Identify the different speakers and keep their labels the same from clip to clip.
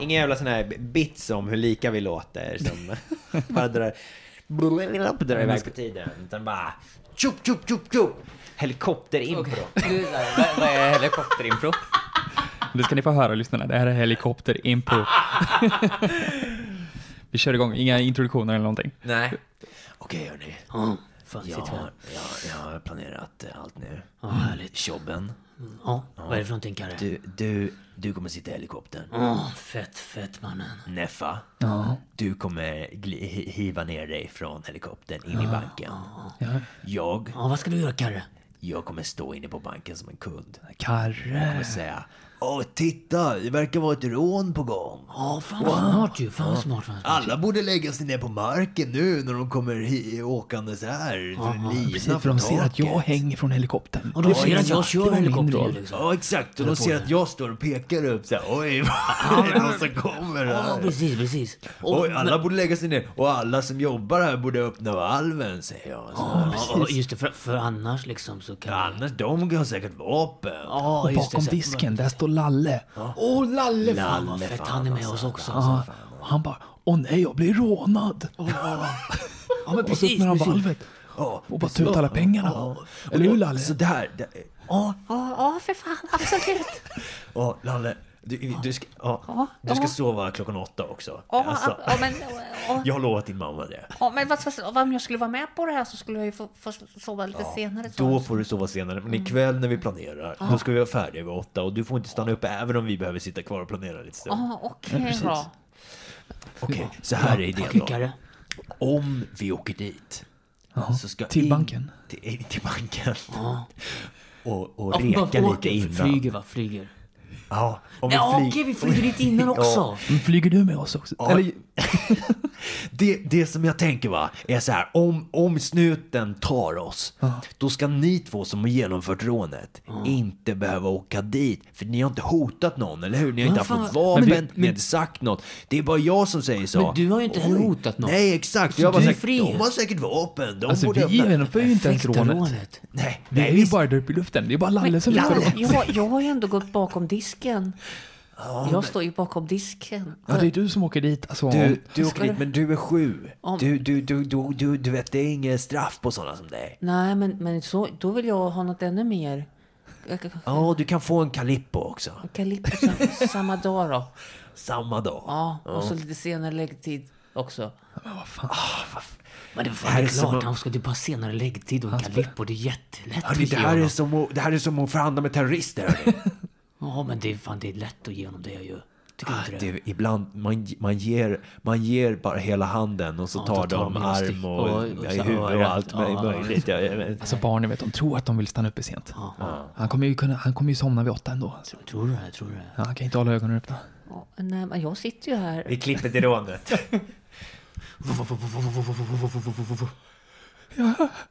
Speaker 1: Inga jävla såna här bits om hur lika vi låter som bara drar, drar iväg på tiden. Utan bara tjup, tjup, tjup, tjup. Helikopterimpro.
Speaker 2: Du är såhär, Vad vad är helikopterimpro?
Speaker 3: Det ska ni få höra lyssnarna. Det här är helikopter impro. Vi kör igång. Inga introduktioner eller någonting.
Speaker 1: Nej. Okej hörni. Jag, har, jag, jag har planerat eh, allt nu. Jobben.
Speaker 4: Ja, vad är det för någonting Karre?
Speaker 1: Du, du, du kommer sitta i helikoptern.
Speaker 4: Åh, fett, fett mannen.
Speaker 1: Neffa. Du kommer gli- hi- hiva ner dig från helikoptern in i banken. Jag,
Speaker 4: Ja, vad ska du göra Karre?
Speaker 1: jag kommer stå inne på banken som en kund. Jag
Speaker 3: Karre.
Speaker 1: kommer säga Åh, titta! Det verkar vara ett rån på gång.
Speaker 4: Ja, fan vad smart ju. Fan vad smart. Fan, vad smart.
Speaker 1: Alla borde lägga sig ner på marken nu när de kommer hi- åkandes här. För en lina
Speaker 3: Precis, för
Speaker 1: från
Speaker 3: de ser att jag
Speaker 1: taket."
Speaker 3: hänger från helikoptern.
Speaker 4: Och de ser att
Speaker 3: exakt.
Speaker 4: jag
Speaker 3: Det
Speaker 4: kör
Speaker 3: var min
Speaker 4: helikopter ju
Speaker 3: roll.
Speaker 4: liksom.
Speaker 1: Ja, exakt. Och de ser att jag står och pekar upp så här. Oj, vad är det någon som kommer
Speaker 4: Ja,
Speaker 1: här?
Speaker 4: precis, precis. Och,
Speaker 1: Oj, alla borde lägga sig ner. Och alla som jobbar här borde öppna valven, säger jag. Så.
Speaker 4: ja, och just det, för, för annars liksom så kan...
Speaker 1: Annars, de har säkert vapen.
Speaker 4: Ja,
Speaker 3: Och
Speaker 4: just det,
Speaker 3: bakom
Speaker 4: så-
Speaker 3: disken, där står Lalle. Åh, Lalle!
Speaker 4: Fan vad fett, han är med oss också.
Speaker 3: Ja, och han bara, åh nej, jag blir rånad.
Speaker 4: Ja, men
Speaker 3: Och så
Speaker 4: precis.
Speaker 3: öppnar han
Speaker 4: precis.
Speaker 3: valvet och bara tar ut alla pengarna. Eller hur Lalle?
Speaker 1: Så där. där. Ja,
Speaker 5: Ja, ja, för fan. Absolut.
Speaker 1: ja, Lalle. Du, du, ska, ja, du ska sova klockan åtta också.
Speaker 5: Ja,
Speaker 1: Alltså,
Speaker 5: ja, men, ja,
Speaker 1: jag har lovat din mamma det.
Speaker 5: ja, men vad, vad, om jag skulle vara med på det här så skulle jag ju få, få sova lite senare. Så.
Speaker 1: Då får du sova senare, men ikväll när vi planerar, då ska vi vara färdiga vid åtta och du får inte stanna upp även om vi behöver sitta kvar och planera lite stund.
Speaker 5: Ja, okej
Speaker 3: precis.
Speaker 5: bra.
Speaker 1: Okej, så här är idén
Speaker 4: Okej
Speaker 1: då.
Speaker 4: Karre.
Speaker 1: Om vi åker dit.
Speaker 3: Ja, till banken.
Speaker 1: Till, till banken.
Speaker 4: Ja.
Speaker 1: Och, och
Speaker 4: Ja,
Speaker 1: reka
Speaker 4: bara åker,
Speaker 1: lite innan.
Speaker 4: Flyger va? Flyger.
Speaker 1: Ja, om
Speaker 4: Ja,
Speaker 1: flyg-
Speaker 4: okej, vi flyger dit innan
Speaker 1: Ja.
Speaker 4: också.
Speaker 3: Men Flyger du med oss också?
Speaker 1: Ja.
Speaker 3: Eller,
Speaker 1: Det, det som jag tänker va, är så här. Om, om snuten tar oss, då ska ni två som har genomfört rånet inte behöva åka dit. För ni har inte hotat någon, eller hur? Ni har inte haft
Speaker 4: fan,
Speaker 1: något
Speaker 3: men
Speaker 1: vapen,
Speaker 3: vi-
Speaker 1: ni har inte sagt något. Det är bara jag som säger så.
Speaker 4: Men du har ju inte heller hotat någon.
Speaker 1: Nej, exakt. Jag har bara
Speaker 4: du är
Speaker 1: sagt,
Speaker 4: fri.
Speaker 1: de har säkert vapen. De
Speaker 3: alltså
Speaker 1: borde
Speaker 3: vi
Speaker 1: öppna."
Speaker 3: genomför ju inte ens
Speaker 4: Perfekta
Speaker 3: rånet.
Speaker 4: rånet.
Speaker 1: Nej,
Speaker 3: Vi
Speaker 1: nej,
Speaker 3: är ju
Speaker 1: visst.
Speaker 3: bara där uppe i luften. Det är bara Lalle som lyfter
Speaker 5: Lalle,
Speaker 3: rånet.
Speaker 5: jag, jag har ju ändå gått bakom disken. Jag står ju bakom disken.
Speaker 3: Ja, det är du som åker dit. Alltså,
Speaker 1: Du, du
Speaker 5: Ska
Speaker 1: åker dit,
Speaker 5: du-
Speaker 1: men du är sju.
Speaker 5: Om-
Speaker 1: Du, du, du, du, du, du vet, det är inget straff på sådana som dig.
Speaker 5: Nej, men, men så, då vill jag ha något ännu mer.
Speaker 1: Ja, du kan få en kalippo också.
Speaker 5: Kalippo sam- samma dag då.
Speaker 1: Samma dag.
Speaker 5: Ja, och så lite senare läggtid också.
Speaker 4: Men det, fan,
Speaker 1: här
Speaker 4: det
Speaker 1: är
Speaker 4: är
Speaker 1: som att-
Speaker 4: klart, han ska till bara senare läggtid och en kalippo. Det är jättelätt
Speaker 1: Hörni,
Speaker 4: att
Speaker 1: det,
Speaker 4: ge
Speaker 1: här är
Speaker 4: honom.
Speaker 1: som att, det här är som att förhandla med terrorister. hörni.
Speaker 4: Ja, men det är, fan, det är lätt att ge honom det ju. Tycker du inte det?
Speaker 1: Ah, det, är ibland, man, man, ger, man ger bara hela handen och så
Speaker 4: Ja,
Speaker 1: tar
Speaker 4: då tar
Speaker 1: de
Speaker 4: man
Speaker 1: arm
Speaker 4: stick
Speaker 1: och,
Speaker 4: och-
Speaker 1: ja,
Speaker 4: och så
Speaker 1: huvud och
Speaker 4: örat.
Speaker 1: allt
Speaker 4: Ja, ja.
Speaker 1: möjligt. Ja, ja, men-
Speaker 3: Alltså barnen vet, de tror att de vill stanna uppe sent. Han kommer ju, kunna, han kommer ju somna vid åtta ändå. Alltså.
Speaker 4: Tror du det? Tror du det?
Speaker 3: Ja, Han kan inte hålla ögonen öppna.
Speaker 5: Ja, nej, men jag sitter ju här.
Speaker 1: Vi klipper till rånet.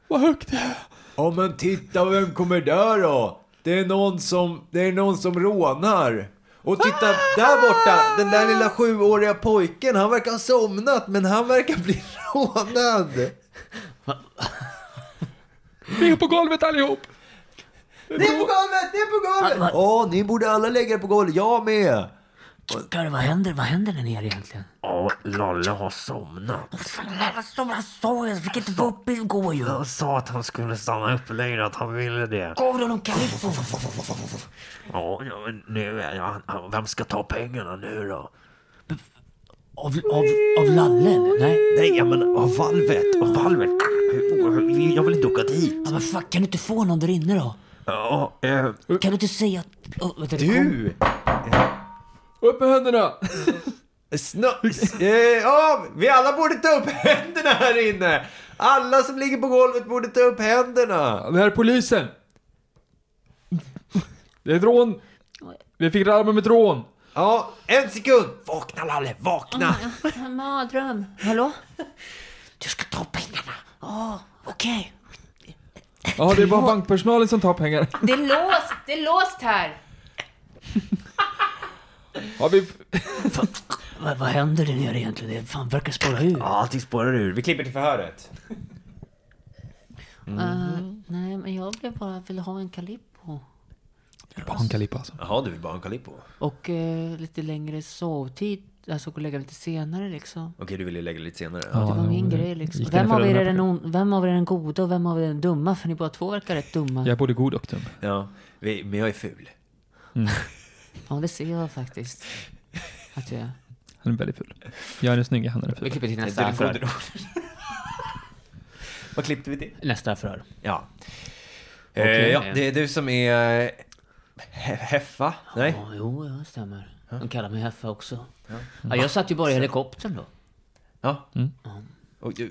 Speaker 3: Vad högt det är.
Speaker 1: Ja men titta vem kommer där då? Det är någon som, det är någon som rånar. Och titta där borta, den där lilla sjuåriga pojken, han verkar ha somnat men han verkar bli rånad.
Speaker 3: Ligger på golvet allihop!
Speaker 1: Det är på golvet, det är på golvet! Ja, ni borde alla lägga er på golvet, jag med!
Speaker 4: Karre, vad händer? Vad händer där nere egentligen?
Speaker 1: Ja, Lalle har somnat.
Speaker 4: Som sa, jag fick inte vara uppe igår ju.
Speaker 1: Han sa att han skulle stanna upp längre, att han ville det.
Speaker 4: Gav du honom kalippo?
Speaker 1: Ja, ja, men nu, ja, han- vem ska ta pengarna nu då?
Speaker 4: Av, av, av Lalle? eller? Nej.
Speaker 1: Nej, jag menar av valvet, av valvet. Jag vill inte åka dit.
Speaker 4: Ja, men fuck, kan du inte få någon där inne då?
Speaker 1: Ja, eh,
Speaker 4: Kan du inte säga att... Oh, vänta, det kom-
Speaker 1: du!
Speaker 3: Upp med händerna!
Speaker 1: Snö- eh, ja, vi alla borde ta upp händerna här inne! Alla som ligger på golvet borde ta upp händerna!
Speaker 3: Det här är polisen! Det är ett rån! Vi fick larm om ett rån!
Speaker 1: Ja, en sekund! Vakna Lalle, vakna!
Speaker 5: Mardröm. Hallå?
Speaker 4: Du ska ta pengarna. Ja, okej.
Speaker 3: Ja, det är bara bankpersonalen som tar pengar.
Speaker 5: Det är låst! Det är låst här!
Speaker 3: Ja, vi...
Speaker 4: Fan, Vad, vad händer där nere egentligen? Det fan verkar spåra ur.
Speaker 1: Ja, allting spårar ur. Vi klipper till förhöret.
Speaker 5: Eh, nej, men jag blev bara vill ha en kalippo.
Speaker 3: Vill bara ha en kalippa alltså.
Speaker 1: Jaha, du vill bara ha en Calippo? Okej,
Speaker 5: Och eh, lite längre sovtid. Alltså gå och lägga mig lite senare liksom.
Speaker 1: du ville lägga lite senare.
Speaker 3: Ja,
Speaker 5: Det var min
Speaker 3: det
Speaker 5: grej liksom.
Speaker 3: gick
Speaker 5: Vem
Speaker 3: därför
Speaker 5: av, er är
Speaker 3: den
Speaker 5: den
Speaker 3: här-
Speaker 5: on- vem av er är den goda och vem av er är den dumma? För ni båda två verkar rätt dumma.
Speaker 3: Jag är både god och dum.
Speaker 1: Ja, vi, men jag är ful.
Speaker 5: Ja, det ser jag faktiskt. Att jag...
Speaker 3: Han är väldigt ful. Jag är den snygga, han är den
Speaker 4: Vi
Speaker 3: fula.
Speaker 4: klipper till nästa
Speaker 1: Nästa
Speaker 4: förhör.
Speaker 1: Vad klippte vi till?
Speaker 4: Nästa förhör.
Speaker 1: Ja. Eh,
Speaker 4: Okej.
Speaker 1: ja, det är du som är... eh, He heffa? Nej?
Speaker 4: Ja, jo, ja, det stämmer. De kallar mig Heffa också. Ja, jag satt ju bara i helikoptern då.
Speaker 1: Ja. Och, du-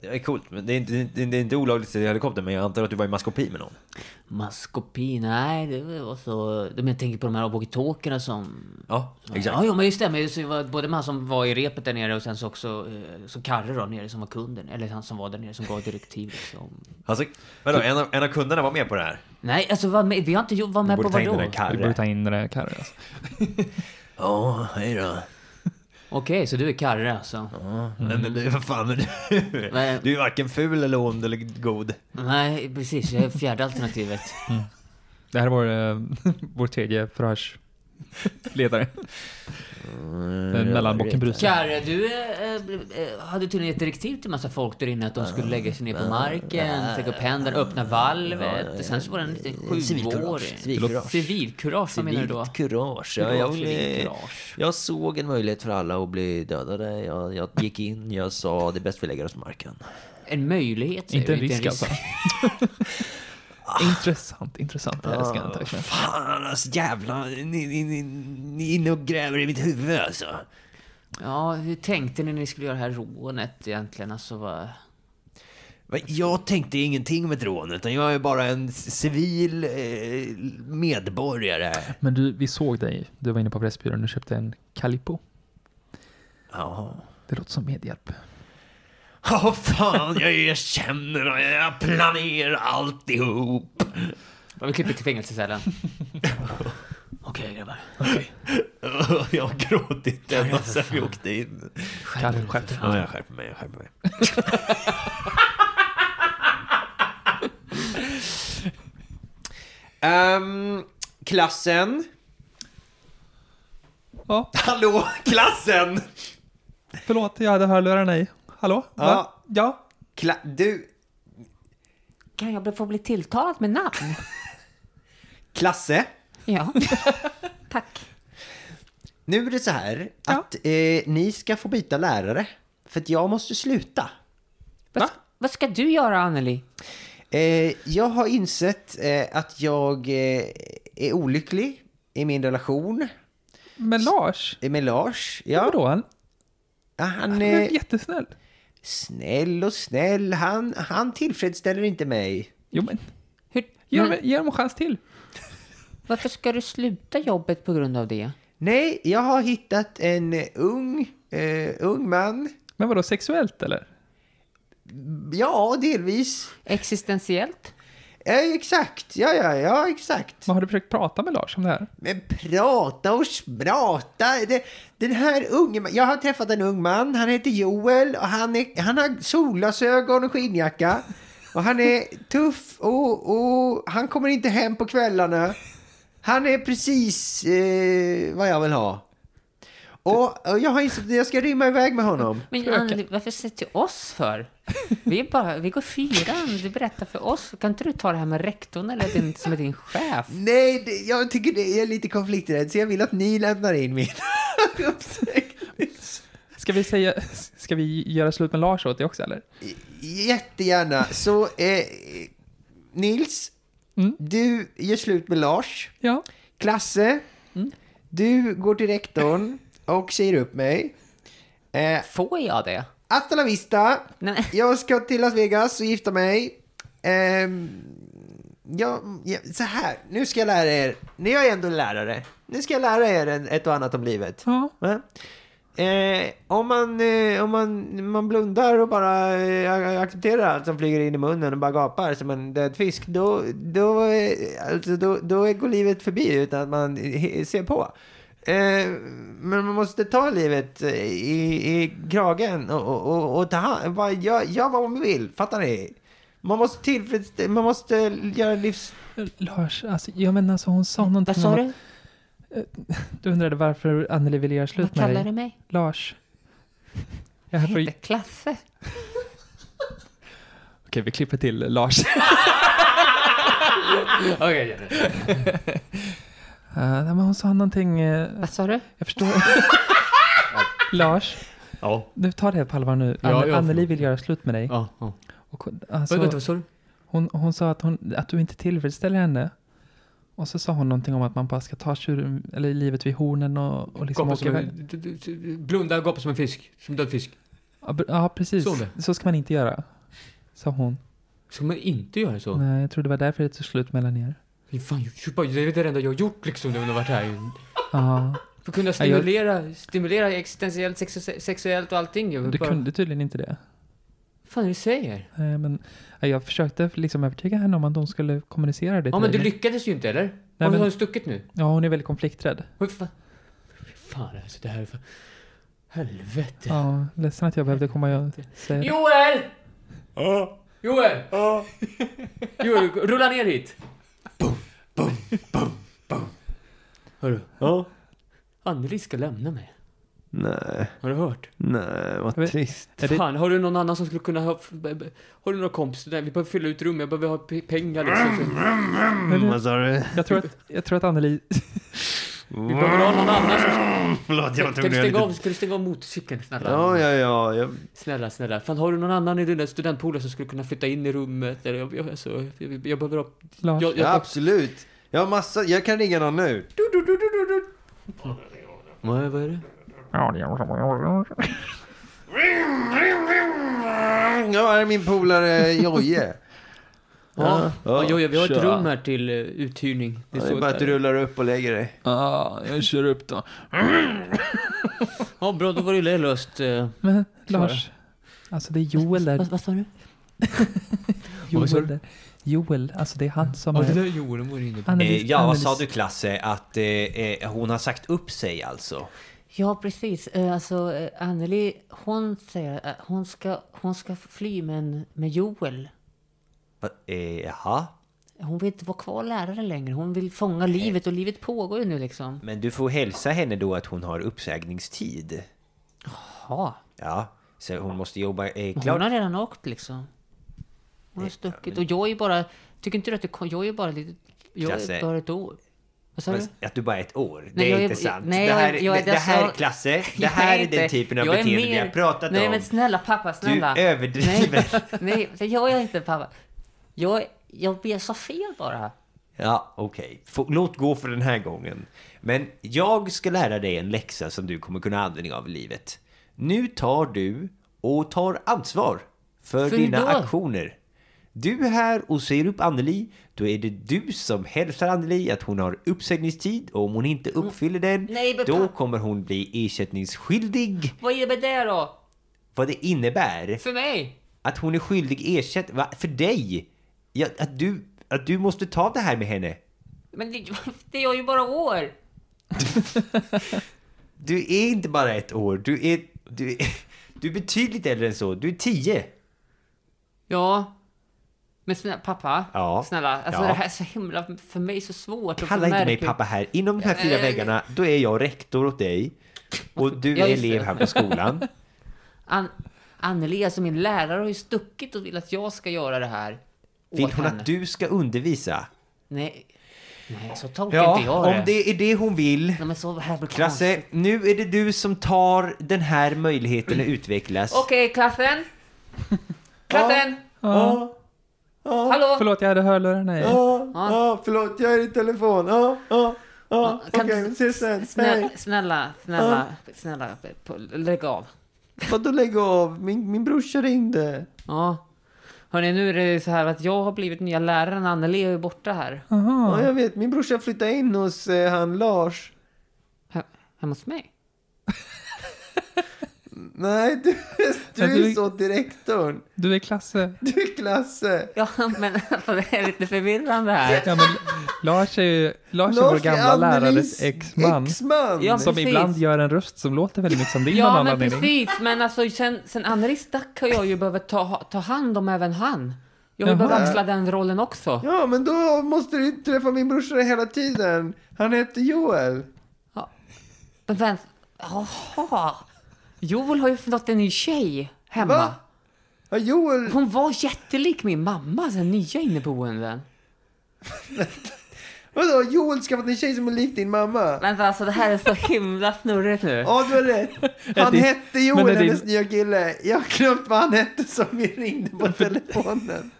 Speaker 1: Det är coolt. Men det, är inte, det, är, det är inte olagligt att sitta i helikopter, men jag antar att du var i maskopi med någon.
Speaker 4: Maskopi, nej, det var så... Men jag tänker på de här walkie-talkierna som...
Speaker 1: Ja, exakt.
Speaker 4: Ja, jo, men just det. Men just det var både man som var i repet där nere och sen så också eh, så Karre då nere som var kunden. Eller han som var där nere som gav direktiv liksom.
Speaker 1: Alltså, vadå, en, av, en av kunderna var med på det här?
Speaker 4: Nej, alltså vad med, vi har inte gjort, var med på
Speaker 1: borde ta in den
Speaker 4: vadå?
Speaker 1: där
Speaker 3: Vi
Speaker 1: Karre.
Speaker 3: borde ta in den där Karre alltså.
Speaker 1: Ja, hej då.
Speaker 4: Okej, så du är Karre alltså?
Speaker 1: Men, men du, vad fan, men du,
Speaker 4: Nej.
Speaker 1: du är varken ful eller ond eller god.
Speaker 4: Nej, precis. Jag är fjärde alternativet.
Speaker 3: Det här var eh, vår tredje förhörsledare.
Speaker 1: Mm.
Speaker 3: Den mellanbocken Bruse.
Speaker 4: Karre, du eh, eh, hade tydligen gett direktiv till massa folk där inne att de skulle lägga sig ner på marken, sträcka upp händerna, öppna valvet. Sen så var det en liten sjuårig...
Speaker 1: Civilkurage. Civilkurage.
Speaker 4: Civilkurage, vad menar du då?
Speaker 1: Civilt kurage. Ja, jag, ville,
Speaker 4: Civilkurage.
Speaker 1: jag såg en möjlighet för alla att bli dödade. Jag, jag gick in, jag sa det är bäst vi lägger oss på marken.
Speaker 4: En möjlighet, säger
Speaker 3: Inte en
Speaker 4: du,
Speaker 3: risk alltså. intressant, intressant. Det här ska jag inte erkänna.
Speaker 1: Fan alltså jävla ni, ni, ni, ni är inne och gräver i mitt huvud alltså.
Speaker 4: Ja, hur tänkte ni när ni skulle göra det här rånet egentligen? Alltså, vad...
Speaker 1: Men Jag tänkte ingenting med ett rån, utan jag är bara en civil eh, medborgare.
Speaker 3: Men du, vi såg dig. Du var inne på Pressbyrån och köpte en Calippo.
Speaker 1: Ja.
Speaker 3: Det låter som medhjälp.
Speaker 1: Åh fan, jag erkänner och jag planerar alltihop.
Speaker 4: Vad vi klipper till fängelsecellen.
Speaker 6: Okej grabbar.
Speaker 1: Jag har gråtit ända sedan vi åkte in.
Speaker 3: Karre, skärp dig.
Speaker 1: Ja, jag skärper mig, jag skärper mig. Ehm, klassen.
Speaker 3: Ja,
Speaker 1: Hallå, klassen!
Speaker 3: förlåt. Jag hade hörlurarna i. Hallå? Va? Ja?
Speaker 1: Kla du,
Speaker 5: Kan jag bli- få bli tilltalad med namn?
Speaker 1: Klasse.
Speaker 5: Ja. Tack.
Speaker 1: Nu är det så här att eh, ni ska få byta lärare. För att jag måste sluta.
Speaker 5: Vad, vad ska du göra, Anneli?
Speaker 1: Eh, jag har insett eh, att jag eh, är olycklig i min relation
Speaker 3: Men Lars?
Speaker 1: med Lars.
Speaker 3: Ja. Eh.
Speaker 1: Ja,
Speaker 3: Vadå? Han,
Speaker 1: han
Speaker 3: han
Speaker 1: är
Speaker 3: är jättesnäll.
Speaker 1: snäll och snäll. Han, han tillfredsställer inte mig.
Speaker 3: Jo, men
Speaker 5: Hur,
Speaker 3: ge,
Speaker 5: men,
Speaker 3: dem, ge dem en chans till.
Speaker 5: varför ska du sluta jobbet på grund av det?
Speaker 1: Nej, jag har hittat en eh, ung, eh, ung man.
Speaker 3: Men vadå, sexuellt eller?
Speaker 1: Ja, delvis.
Speaker 5: Existentiellt?
Speaker 1: Ja, exakt. Ja, ja, ja, exakt.
Speaker 3: Men har du försökt prata med Lars om det här?
Speaker 1: Men prata och sprata. Det, den här unge, ma- jag har träffat en ung man, han heter Joel och han, är, han har solglasögon och skinnjacka. Och han är tuff och, och han kommer inte hem på kvällarna. Han är precis eh, vad jag vill ha. Och, och jag har insett att jag ska rymma iväg med honom.
Speaker 5: Men Anneli, varför säger du till oss för? Vi, är bara, vi går fyran, du berättar för oss. Kan inte du ta det här med rektorn eller din, som är din chef?
Speaker 1: Nej, det, jag tycker det är lite konflikträdd så jag vill att ni lämnar in min uppsägning.
Speaker 3: Ska vi, säga, ska vi göra slut med Lars åt dig också eller?
Speaker 1: Jättegärna. Så eh, Nils,
Speaker 3: Mm.
Speaker 1: du gör slut med Lars.
Speaker 3: Ja.
Speaker 1: Klasse, du går till rektorn och säger upp mig. Eh,
Speaker 5: Får jag det?
Speaker 1: hasta la vista.
Speaker 5: Nej.
Speaker 1: Jag ska till Las Vegas och gifta mig. Ehm, ja, ja, så här, nu ska jag lära er. Nu är jag ändå lärare. Nu ska jag lära er en- ett och annat om livet.
Speaker 3: Ja.
Speaker 1: Va? Eh, om man, eh, om man, man blundar och bara eh, accepterar allt som flyger in i munnen och bara gapar som en död fisk, då, då, eh, alltså, då, då går livet förbi utan att man eh, ser på. Eh, men man måste ta livet eh, i, i kragen och, och, och, och ta hand, bara, gör, gör vad man vill, fattar ni?
Speaker 7: Man måste tillfredsställa, man måste göra livs...
Speaker 3: Lars, alltså, jag menar alltså hon sa någonting
Speaker 4: Vad sa
Speaker 3: om
Speaker 4: du?
Speaker 3: att du undrade varför Anneli ville göra
Speaker 4: Vad
Speaker 3: slut med
Speaker 4: kallar
Speaker 3: dig.
Speaker 4: du mig?
Speaker 3: Lars.
Speaker 4: Jag
Speaker 3: Jag är här för...
Speaker 4: heter
Speaker 3: Okej,
Speaker 4: Klasse.
Speaker 3: vi klipper till Lars.
Speaker 6: Okej, Jenny.
Speaker 3: Eh, nej, men hon sa någonting... eh,
Speaker 4: Vad sa du?
Speaker 3: jag förstår. Lars,
Speaker 6: Ja.
Speaker 3: nu ta det på allvar nu.
Speaker 6: Ja,
Speaker 3: Anne-
Speaker 6: ja,
Speaker 3: Anneli
Speaker 6: förlåt.
Speaker 3: vill göra slut med dig.
Speaker 6: Ja. ja.
Speaker 3: Och, alltså,
Speaker 6: Vänta, vänta, vad sa du?
Speaker 3: Hon, hon sa att, hon, att du inte tillfredsställer henne. Och så sa hon någonting om att man bara ska ta tjuren, eller livet vid hornen och, och liksom
Speaker 6: Gapa
Speaker 3: åka
Speaker 6: som
Speaker 3: iväg.
Speaker 6: en, d- d- d- blunda och gapa som en fisk. Som död fisk.
Speaker 3: Ja, br- ja, precis.
Speaker 6: Sa hon det?
Speaker 3: Så ska man inte göra. Sa hon.
Speaker 6: Ska man inte göra så?
Speaker 3: Nej, jag tror det var därför det tog slut mellan er.
Speaker 6: Fy Fan, jag- jag- det är det enda jag har gjort liksom när man har varit här.
Speaker 3: Ja,
Speaker 6: För att kunna stimulera, stimulera existentiellt, sexu- sexuellt och allting. Jag
Speaker 3: du
Speaker 6: bara,
Speaker 3: kunde tydligen inte det.
Speaker 6: Vad fan är det du säger?
Speaker 3: Nej, men ja, jag försökte liksom övertyga henne om att hon skulle kommunicera det
Speaker 6: Ja,
Speaker 3: till
Speaker 6: men du
Speaker 3: dig,
Speaker 6: lyckades ju inte, eller?
Speaker 3: Nej,
Speaker 6: har,
Speaker 3: men-
Speaker 6: har du stuckit nu?
Speaker 3: Ja, hon är väldigt konflikträdd.
Speaker 6: Vad fan? Fy Fan, alltså det här är för... Helvete.
Speaker 3: Ja, ledsen att jag behövde komma och säga det.
Speaker 6: Joel! Joel! Joel, rulla ner hit! Boom, boom, boom, boom. Hörru,
Speaker 7: Ja.
Speaker 6: Anneli ska lämna mig.
Speaker 7: Nej,
Speaker 6: Har du hört?
Speaker 7: nej, vad
Speaker 3: Jag vet-
Speaker 7: trist.
Speaker 3: Är det-
Speaker 6: Fan, har du någon annan som skulle kunna ha... Har du några kompisar? Nej, vi behöver fylla ut rum, jag behöver ha pe- pengar liksom.
Speaker 3: Men-
Speaker 7: Mm, Vad sa du?
Speaker 3: Jag tror att, jag tror att Anneli...
Speaker 6: Vi behöver ha någon annan som...
Speaker 7: Förlåt,
Speaker 6: Kan
Speaker 7: jag
Speaker 6: du
Speaker 7: tog ner
Speaker 6: stänga av,
Speaker 7: lite...
Speaker 6: kan du stänga av motorcykeln snälla?
Speaker 7: Ja, ja, ja. Jag...
Speaker 6: Snälla, snälla. Fan, har du någon annan i din där studentpoolen som skulle kunna flytta in i rummet? Eller, jag, jag, alltså, jag, jag behöver ha...
Speaker 3: Lars.
Speaker 6: Jag,
Speaker 7: Ja,
Speaker 6: jag,
Speaker 7: absolut. Jag har massa, jag kan ringa någon nu.
Speaker 6: Vad, vad är det?
Speaker 7: Ja, här är min polare Joje.
Speaker 6: Ja, ja,
Speaker 7: ja,
Speaker 6: ja, vi har ett
Speaker 7: tja.
Speaker 6: rum här till eh, uthyrning. Det
Speaker 7: Det
Speaker 6: är
Speaker 7: är
Speaker 6: så
Speaker 7: bara att du
Speaker 6: där.
Speaker 7: rullar upp och lägger dig.
Speaker 3: Ja, Ah, jag kör upp då.
Speaker 6: Ja, bra, då var det ju löst. eh.
Speaker 3: Men Lars, alltså det är Joel där.
Speaker 4: Vad, vad sa du?
Speaker 6: Vad sa du?
Speaker 3: Joel där. Joel, alltså det är han som
Speaker 6: Ja, det
Speaker 3: är...
Speaker 6: där Joel var inne på.
Speaker 3: Anneli-
Speaker 1: Eh, ja, vad
Speaker 3: Anneli-
Speaker 1: sa du Klasse? Att eh, eh, hon har sagt upp sig alltså?
Speaker 4: Ja, precis. Eh, Alltså, eh, Anneli, hon säger att hon ska, hon ska fly med, en, med Joel.
Speaker 1: Va, eh, jaha?
Speaker 4: Hon vill inte vara kvar lärare längre. Hon vill fånga livet och livet pågår ju nu liksom.
Speaker 1: Men du får hälsa henne då att hon har uppsägningstid.
Speaker 4: Ja,
Speaker 1: Ja, så hon måste jobba eh,
Speaker 4: hon
Speaker 1: klart.
Speaker 4: har redan åkt liksom. Hon har stuckit. Och jag är bara... Tycker inte du att det kom- Jag är bara lite... Jag
Speaker 1: Klasse.
Speaker 4: är bara ett år. Vad sa du?
Speaker 1: Men Att du bara är ett år,
Speaker 4: Nej,
Speaker 1: det är
Speaker 4: jag är-
Speaker 1: inte sant.
Speaker 4: nej,
Speaker 1: det
Speaker 4: jag är-
Speaker 1: här,
Speaker 4: jag är-
Speaker 1: det, det här
Speaker 4: alltså-
Speaker 1: Klasse, det
Speaker 4: Jag
Speaker 1: här
Speaker 4: är
Speaker 1: är den
Speaker 4: inte-
Speaker 1: typen av
Speaker 4: jag är
Speaker 1: beteende vi
Speaker 4: mer-
Speaker 1: har pratat
Speaker 4: Nej
Speaker 1: om.
Speaker 4: men snälla pappa, snälla.
Speaker 1: Du överdriver.
Speaker 4: Nej, nej, det gör jag inte pappa. Jag, jag, jag sa fel bara.
Speaker 1: Ja, okej. Få- Låt gå för den här gången. Men jag ska lära dig en läxa som du kommer kunna ha användning av i livet. Nu tar du och tar ansvar för,
Speaker 4: För
Speaker 1: dina
Speaker 4: då?
Speaker 1: aktioner. Du är här och säger upp Anneli, då är det du som hälsar Anneli att hon har uppsägningstid och om hon inte uppfyller den,
Speaker 4: Mm. Nej, men
Speaker 1: då
Speaker 4: pappa-
Speaker 1: kommer hon bli ersättningsskyldig.
Speaker 4: Vad innebär det då?
Speaker 1: Vad det innebär
Speaker 4: För mig?
Speaker 1: att hon är skyldig ersättning, va? För dig! Ja, att, du, att du måste ta det här med henne.
Speaker 4: Men det, det gör ju bara år.
Speaker 1: Du är inte bara ett år, du är, du är, du är betydligt äldre än så. Du är tio.
Speaker 4: Ja. Men snälla pappa.
Speaker 1: Ja.
Speaker 4: Snälla. Alltså
Speaker 1: Ja.
Speaker 4: det här är så himla för mig så svårt. och
Speaker 1: Kalla inte mig
Speaker 4: märkligt.
Speaker 1: pappa här. Inom de här fyra
Speaker 4: Eh.
Speaker 1: väggarna, då är jag rektor åt dig. Och du
Speaker 4: Ja,
Speaker 1: är
Speaker 4: just det.
Speaker 1: elev här på skolan.
Speaker 4: An, Anneli, alltså min lärare har ju stuckit och vill att jag ska göra det här.
Speaker 1: Vill
Speaker 4: åt
Speaker 1: hon
Speaker 4: henne.
Speaker 1: att du ska undervisa?
Speaker 4: Nej. Nej, så tolkar inte jag
Speaker 1: Ja,
Speaker 4: det.
Speaker 1: om det är det hon vill.
Speaker 4: Nej men så här blir
Speaker 1: Klasse, nu är det du som tar den här möjligheten att utvecklas.
Speaker 4: Okej, klassen. Klassen.
Speaker 3: Ja,
Speaker 4: Hallå.
Speaker 3: förlåt, jag hade hörlurarna i.
Speaker 7: Ja, ja, förlåt, jag är i telefon. Ja, ja, ja. Okej,
Speaker 4: Kan-
Speaker 7: vi ses sen.
Speaker 4: Snälla,
Speaker 7: Hej.
Speaker 4: snälla, snälla, snälla, på- lägg av.
Speaker 7: Vadå lägg av? Min, min brorsa ringde.
Speaker 4: Ja. Hörni, nu är det så här att jag har blivit nya läraren. Anneli är ju borta här.
Speaker 7: Ja, jag vet. Min brorsa flyttade in hos eh, han Lars.
Speaker 4: He- Hemma hos mig.
Speaker 7: Nej, du, du
Speaker 3: Men du-
Speaker 7: är så direktorn.
Speaker 3: Du är Klasse.
Speaker 7: Du är Klasse.
Speaker 4: Ja, men alltså, det är lite förvirrande här.
Speaker 3: Ja, men Lars är ju Lars är vår gamla
Speaker 7: Annelies
Speaker 3: lärares exman.
Speaker 7: Exman.
Speaker 4: Ja,
Speaker 3: Som
Speaker 4: precis.
Speaker 3: ibland gör en röst som låter väldigt mycket som din av
Speaker 4: Ja,
Speaker 3: någon
Speaker 4: men
Speaker 3: anledning.
Speaker 4: precis. Men alltså, sen, sen Anneli stack har jag ju behövt ta, ta hand om även han. Jag vill behöva
Speaker 6: Jaha.
Speaker 4: axla den rollen också.
Speaker 7: Ja, men då måste du träffa min brorsa hela tiden. Han heter Joel.
Speaker 4: Men vem... Jaha. Joel har ju fått en ny tjej hemma.
Speaker 7: Va? Ja, Joel.
Speaker 4: Hon var jättelik min mamma, den nya inneboenden.
Speaker 7: Vadå, Joel skaffat en tjej som är lik din mamma?
Speaker 4: Vänta, alltså det här är så himla snurrigt nu.
Speaker 7: Ja, du har rätt. Han
Speaker 6: din-
Speaker 7: hette
Speaker 6: men
Speaker 7: Joel,
Speaker 6: är din-
Speaker 7: hennes nya kille. Jag har glömt vad han hette som vi ringde på telefonen.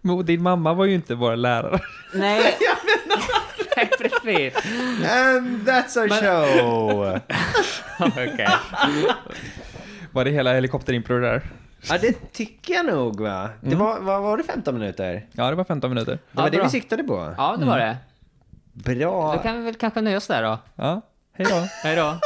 Speaker 6: Men din mamma var ju inte vår lärare.
Speaker 4: Nej. alltså. Nej, precis.
Speaker 7: And that's our show.
Speaker 6: Var det hela helikopterimpro där?
Speaker 8: Ja, det tycker jag nog va? Det
Speaker 3: Mm.
Speaker 8: var, vad var det 15 minuter? Det
Speaker 6: Ja, det var 15 minuter.
Speaker 8: var
Speaker 4: Ja,
Speaker 8: det
Speaker 4: bra.
Speaker 8: vi siktade på.
Speaker 4: Ja, det var det.
Speaker 8: Bra.
Speaker 4: Då kan vi väl kanske nöja oss där då.
Speaker 6: Ja, hej då.
Speaker 4: Hej då.